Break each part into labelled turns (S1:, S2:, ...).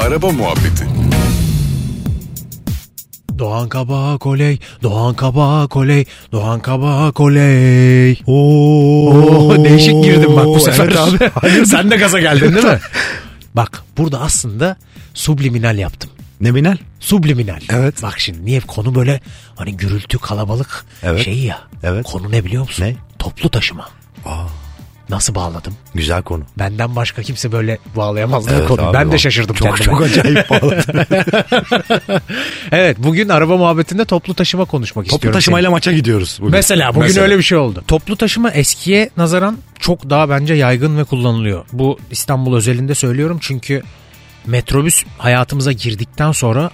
S1: Araba Muhabbeti
S2: Doğan Kabak oley, Doğan Kabak oley, Doğan Kabak oley. Oo, değişik girdim bak bu sefer.
S3: Evet abi.
S2: Sen de gaza geldin değil mi? bak burada aslında subliminal yaptım.
S3: Ne binal?
S2: Subliminal.
S3: Evet.
S2: Bak şimdi niye konu böyle hani gürültü kalabalık
S3: Evet.
S2: şeyi ya.
S3: Evet.
S2: Konu ne biliyor musun?
S3: Ne?
S2: Toplu taşıma.
S3: Aa.
S2: Nasıl bağladım?
S3: Güzel konu.
S2: Benden başka kimse böyle bağlayamazdı
S3: Evet
S2: konu.
S3: abi,
S2: ben de
S3: o-
S2: şaşırdım
S3: çok,
S2: kendime.
S3: Çok acayip bağladın.
S2: Evet bugün araba muhabbetinde toplu taşıma konuşmak
S3: Toplu
S2: istiyorum.
S3: taşımayla maça gidiyoruz bugün.
S2: Mesela bugün
S1: Mesela.
S2: öyle bir şey oldu. Toplu taşıma eskiye nazaran çok daha bence yaygın ve kullanılıyor. Bu İstanbul özelinde söylüyorum çünkü metrobüs hayatımıza girdikten sonra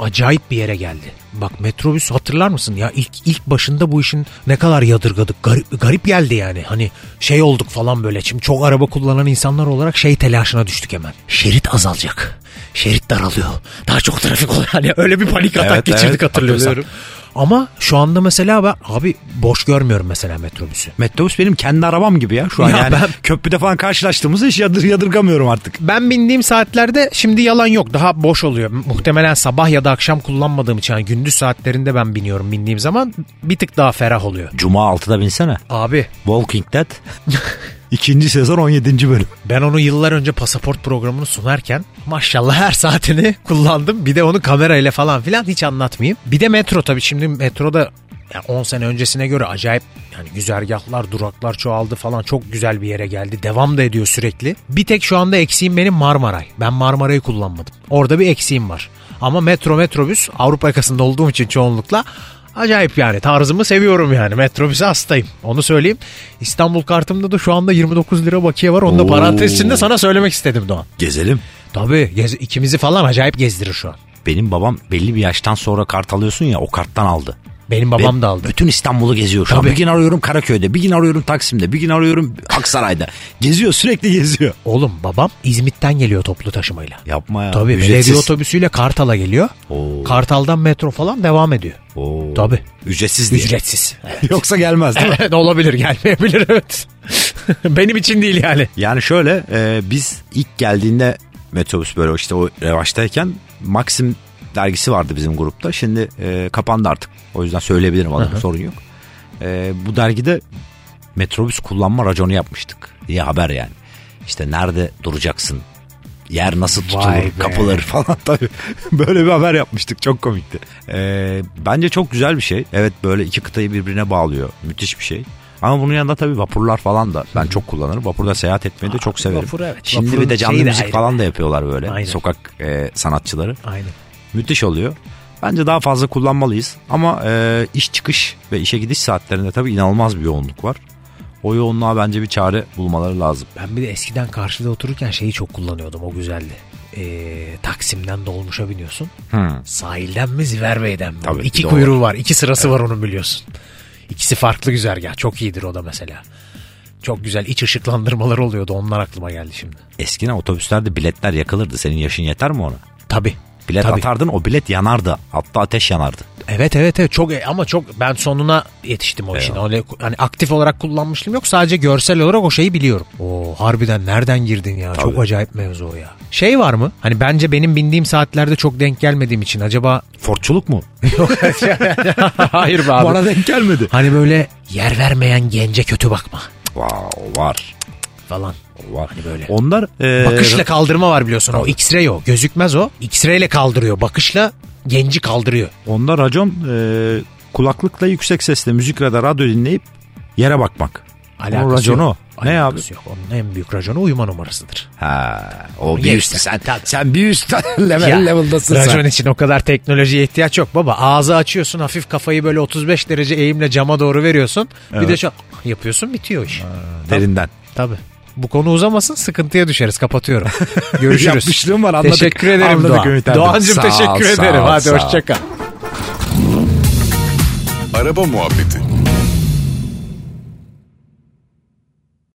S2: acayip bir yere geldi. Bak metrobüs hatırlar mısın ya ilk ilk başında bu işin ne kadar yadırgadık garip, garip geldi yani hani şey olduk falan böyle şimdi çok araba kullanan insanlar olarak şey telaşına düştük hemen şerit azalacak şerit daralıyor daha çok trafik oluyor hani öyle bir panik atak
S3: Evet,
S2: geçirdik
S3: evet,
S2: hatırlıyorsan.
S3: hatırlıyorum.
S2: Ama şu anda mesela ben abi boş görmüyorum mesela metrobüsü.
S3: Metrobüs benim kendi arabam gibi ya şu an.
S2: Ya
S3: yani
S2: ben-
S3: köprüde falan karşılaştığımızda hiç yadır, yadırgamıyorum artık.
S2: Ben bindiğim saatlerde şimdi yalan yok daha boş oluyor. Muhtemelen sabah ya da akşam kullanmadığım için yani gündüz saatlerinde ben biniyorum bindiğim zaman bir tık daha ferah oluyor.
S3: Cuma 6'da binsene.
S2: Abi
S3: Walking Dead. İkinci sezon 17. bölüm.
S2: ben onu yıllar önce pasaport programını sunarken maşallah her saatini kullandım. Bir de onu kamerayla falan filan hiç anlatmayayım. Bir de metro tabii şimdi metroda ya 10 sene öncesine göre acayip yani güzergahlar, duraklar çoğaldı falan çok güzel bir yere geldi. Devam da ediyor sürekli. Bir tek şu anda eksiğim benim Marmaray. Ben Marmaray'ı kullanmadım. Orada bir eksiğim var. Ama metro metrobüs Avrupa yakasında olduğum için çoğunlukla acayip yani tarzımı seviyorum yani. Metrobüse hastayım. Onu söyleyeyim. İstanbul kartımda da şu anda 29 lira bakiye var. Onu da
S3: Oo.
S2: parantez içinde sana söylemek istedim Doğan.
S3: Gezelim.
S2: Tabii gez- ikimizi falan acayip gezdirir şu an.
S3: Benim babam belli bir yaştan sonra kart alıyorsun ya o karttan aldı.
S2: Benim babam
S3: Ve
S2: da aldı.
S3: Bütün İstanbul'u geziyor. Şu an
S2: Tabii.
S3: bir gün arıyorum Karaköy'de, bir gün arıyorum Taksim'de, bir gün arıyorum Aksaray'da. geziyor sürekli geziyor.
S2: Oğlum babam İzmit'ten geliyor toplu taşımayla.
S3: Yapma ya.
S2: Tabii
S3: ücretsiz.
S2: belediye otobüsüyle Kartal'a geliyor.
S3: Oo.
S2: Kartal'dan metro falan devam ediyor.
S3: Oo.
S2: Tabii.
S3: Ücretsiz diye.
S2: Ücretsiz.
S3: Yoksa gelmez değil mi?
S2: Evet olabilir gelmeyebilir evet. Benim için değil yani.
S3: Yani şöyle e, biz ilk geldiğinde metrobüs böyle işte o revaçtayken Maxim dergisi vardı bizim grupta. Şimdi e, kapandı artık. O yüzden söyleyebilirim adını sorun yok. E, bu dergide metrobüs kullanma raconu yapmıştık diye haber yani. İşte nerede duracaksın? Yer nasıl tutulur?
S2: Vay be.
S3: Kapıları falan tabii. böyle bir haber yapmıştık. Çok komikti. E, bence çok güzel bir şey. Evet böyle iki kıtayı birbirine bağlıyor. Müthiş bir şey. Ama bunun yanında tabii vapurlar falan da ben çok kullanırım. Vapurda seyahat etmeyi de çok severim.
S2: vapur evet.
S3: Şimdi
S2: Vapurun
S3: bir de canlı
S2: şeyi de
S3: müzik
S2: ayrı.
S3: falan da yapıyorlar böyle.
S2: Aynen.
S3: Sokak e, sanatçıları.
S2: Aynen.
S3: Müthiş oluyor. Bence daha fazla kullanmalıyız. Ama e, iş çıkış ve işe gidiş saatlerinde tabii inanılmaz bir yoğunluk var. O yoğunluğa bence bir çare bulmaları lazım.
S2: Ben bir de eskiden karşıda otururken şeyi çok kullanıyordum o güzeldi. Ee, Taksim'den dolmuşa biniyorsun.
S3: Hmm.
S2: Sahilden mi Ziverbe'den mi?
S3: Tabii,
S2: iki
S3: bir de o
S2: kuyruğu var. iki sırası var onun biliyorsun. İkisi farklı güzergah. Çok iyidir o da mesela. Çok güzel iç ışıklandırmaları oluyordu. Onlar aklıma geldi şimdi.
S3: Eskiden otobüslerde biletler yakılırdı. Senin yaşın yeter mi ona?
S2: Tabii.
S3: Bilet
S2: Tabii.
S3: atardın o bilet yanardı. Hatta ateş yanardı.
S2: Evet evet evet çok ama çok ben sonuna yetiştim o işin. Öyle hani aktif olarak kullanmışlığım yok. Sadece görsel olarak o şeyi biliyorum. Oo harbiden nereden girdin ya? Çok acayip mevzu o ya. Şey var mı? Hani bence benim bindiğim saatlerde çok denk gelmediğim için acaba
S3: Fortçuluk mu?
S2: Hayır be
S3: Bana denk gelmedi.
S2: Hani böyle yer vermeyen gence kötü bakma
S3: Wow, var.
S2: falan.
S3: Var.
S2: Hani böyle.
S3: Onlar e,
S2: Bakışla kaldırma var biliyorsun o. X-ray o. Gözükmez o. X-ray ile kaldırıyor. Bakışla genci kaldırıyor.
S3: Onda racon e, kulaklıkla yüksek sesle müzik ya da radyo dinleyip yere bakmak. Onun raconu
S2: yok.
S3: o. Ne abi?
S2: Alakası Yok. Onun en büyük raconu uyuma numarasıdır.
S3: Ha, o bir
S2: Yes.
S3: üst sen, sen bir üst level
S2: Ya,
S3: level'dasın
S2: racon
S3: sen.
S2: için o kadar teknolojiye ihtiyaç yok baba. Ağzı açıyorsun hafif kafayı böyle 35 derece eğimle cama doğru veriyorsun. Bir de şu yapıyorsun bitiyor iş.
S3: Derinden.
S2: Tabii. Bu konu uzamasın sıkıntıya düşeriz kapatıyorum. Görüşürüz.
S3: Yapmışlığım var, anladık.
S2: Teşekkür ederim
S3: Anladık
S2: Doğan.
S3: Ümit abi.
S2: Doğancığım
S3: Sağ ol,
S2: teşekkür
S3: sağ
S2: ederim.
S3: ol,
S2: Hadi
S3: sağ ol.
S2: hoşça kal.
S1: Araba Muhabbeti